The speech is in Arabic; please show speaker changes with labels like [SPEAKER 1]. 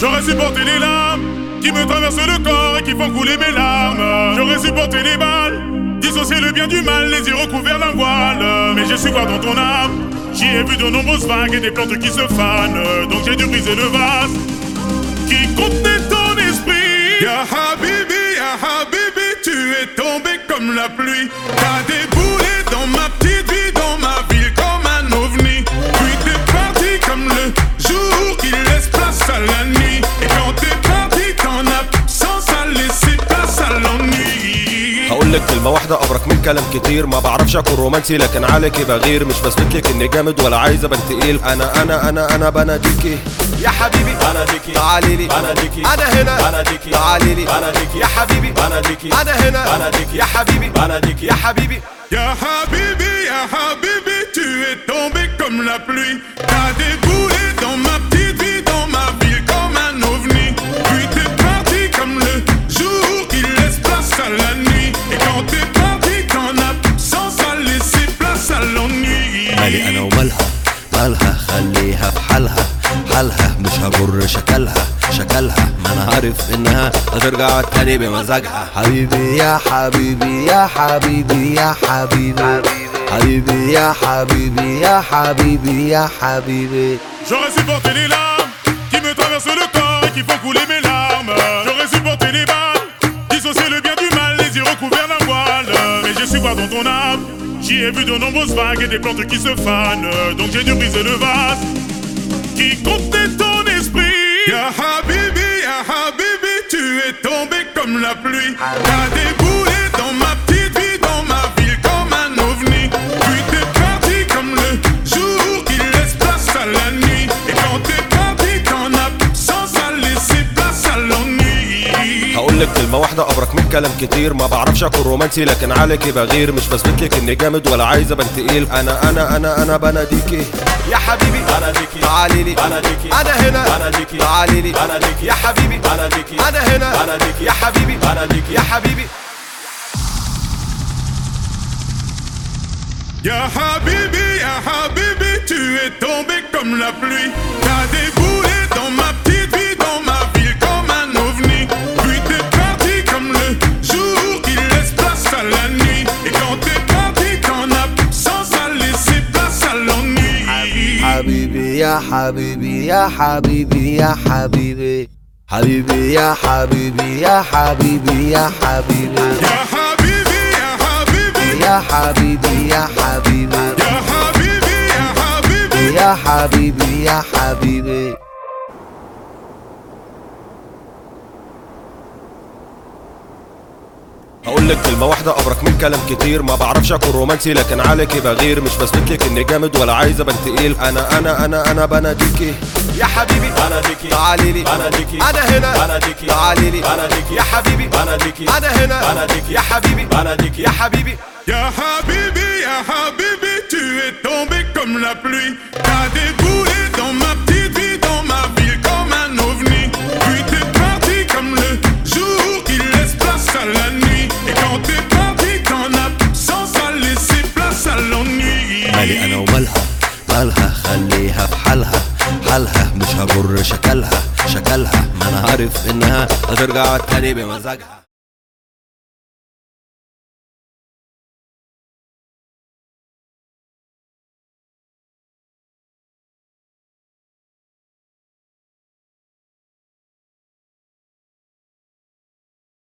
[SPEAKER 1] J'aurais supporté les larmes qui me traversent le corps et qui font couler mes larmes. J'aurais supporté les balles, dissocier le bien du mal, les yeux recouverts d'un voile. Mais je suis quoi dans ton âme J'y ai vu de nombreuses vagues et des plantes qui se fanent. Donc j'ai dû briser le vase qui contenait ton esprit.
[SPEAKER 2] Ya Habibi, ya Habibi, tu es tombé comme la pluie. T'as déboulé dans ma petite vie, dans ma ville comme un ovni. Puis t'es parti comme le jour qui laisse place à la nuit. Et quand t'es parti, t'en absence a laissé place à l'ennui.
[SPEAKER 3] هقول لك كلمة واحدة أبرك من كلام كتير ما بعرفش أكون رومانسي لكن عليكي بغير مش بثبت لك إني جامد ولا عايز أبان تقيل أنا أنا أنا أنا بناديكي يا حبيبي بناديكي تعالي لي بناديكي أنا هنا بناديكي تعالي لي بناديكي يا حبيبي بناديكي أنا هنا بناديكي يا حبيبي بناديكي يا حبيبي
[SPEAKER 2] Ya Habibi, ya Habibi, tu es tombé comme la pluie. T'as déboulé dans ma petite vie, dans ma ville comme un ovni. Puis t'es parti comme le jour qui laisse place à la nuit. Et quand t'es parti, t'en absence a laissé place à
[SPEAKER 4] مالي انا
[SPEAKER 2] l'ennui.
[SPEAKER 4] ومالها مالها خليها في حالها حالها مش هجر شكلها شكلها ما انا عارف انها هترجع تاني بمزاجها حبيبي يا حبيبي يا حبيبي يا حبيبي حبيبي يا حبيبي يا حبيبي يا حبيبي
[SPEAKER 1] J'aurais supporté les larmes qui me traversent le corps et qui font couler mes larmes. J'aurais supporté les balles, dissocier le bien du mal, les yeux recouverts d'un voile. Mais je suis quoi dans ton âme J'y ai vu de nombreuses vagues et des plantes qui se fanent. Donc j'ai dû briser le vase qui contenait ton esprit.
[SPEAKER 2] Ya Habibi, ya Habibi, tu es tombé comme la pluie. T'as déboulé dans ma petite vie, dans ma ville comme un ovni. Puis t'es parti comme le jour qui laisse place à la nuit. Et quand t'es parti, t'en absence a laissé place à l'ennui.
[SPEAKER 3] هقول لك كلمة واحدة أبرك من كلام كتير ما بعرفش أكون رومانسي لكن عليكي بغير مش بثبت لك إني جامد ولا عايز أبان تقيل أنا أنا أنا أنا بناديكي يا حبيبي بناديكي تعالي لي بناديكي أنا هنا بناديكي تعالي لي بناديكي يا حبيبي بناديكي أنا هنا بناديكي يا حبيبي بناديكي يا حبيبي
[SPEAKER 2] Ya Habibi, ya Habibi, tu es tombé comme la pluie. T'as déboulé dans ma petite vie, dans ma ville comme un ovni. Puis t'es parti comme le jour qui laisse place à la nuit. Et quand t'es parti, t'en absence a laissé place à l'ennui.
[SPEAKER 4] حبيبي يا حبيبي يا حبيبي يا حبيبي حبيبي يا حبيبي يا حبيبي يا حبيبي
[SPEAKER 2] Ya Habibi, ya Habibi,
[SPEAKER 4] يا حبيبي يا
[SPEAKER 2] ya Habibi,
[SPEAKER 4] حبيبي
[SPEAKER 2] ya Habibi.
[SPEAKER 4] يا حبيبي يا حبيبي
[SPEAKER 3] هقول لك كلمة واحدة أبرك من كلام كتير ما بعرفش أكون رومانسي لكن عليكي بغير مش بثبت لك إني جامد ولا عايز أبان تقيل أنا أنا أنا أنا بناديكي يا حبيبي بناديكي تعالي لي بناديكي أنا هنا بناديكي تعالي لي بناديكي يا حبيبي بناديكي أنا هنا بناديكي يا حبيبي بناديكي يا حبيبي
[SPEAKER 2] Ya Habibi, ya Habibi, tu es tombé comme la pluie. T'as déboulé dans ma petite vie, dans ma ville comme un ovni. Puis t'es parti comme le jour qui laisse place à la nuit. Et quand t'es parti, t'en absence a laissé place à
[SPEAKER 4] مالي انا
[SPEAKER 2] l'ennui.
[SPEAKER 4] ومالها مالها خليها في حالها حالها مش هجر شكلها شكلها ما انا عارف انها هترجع تاني بمزاجها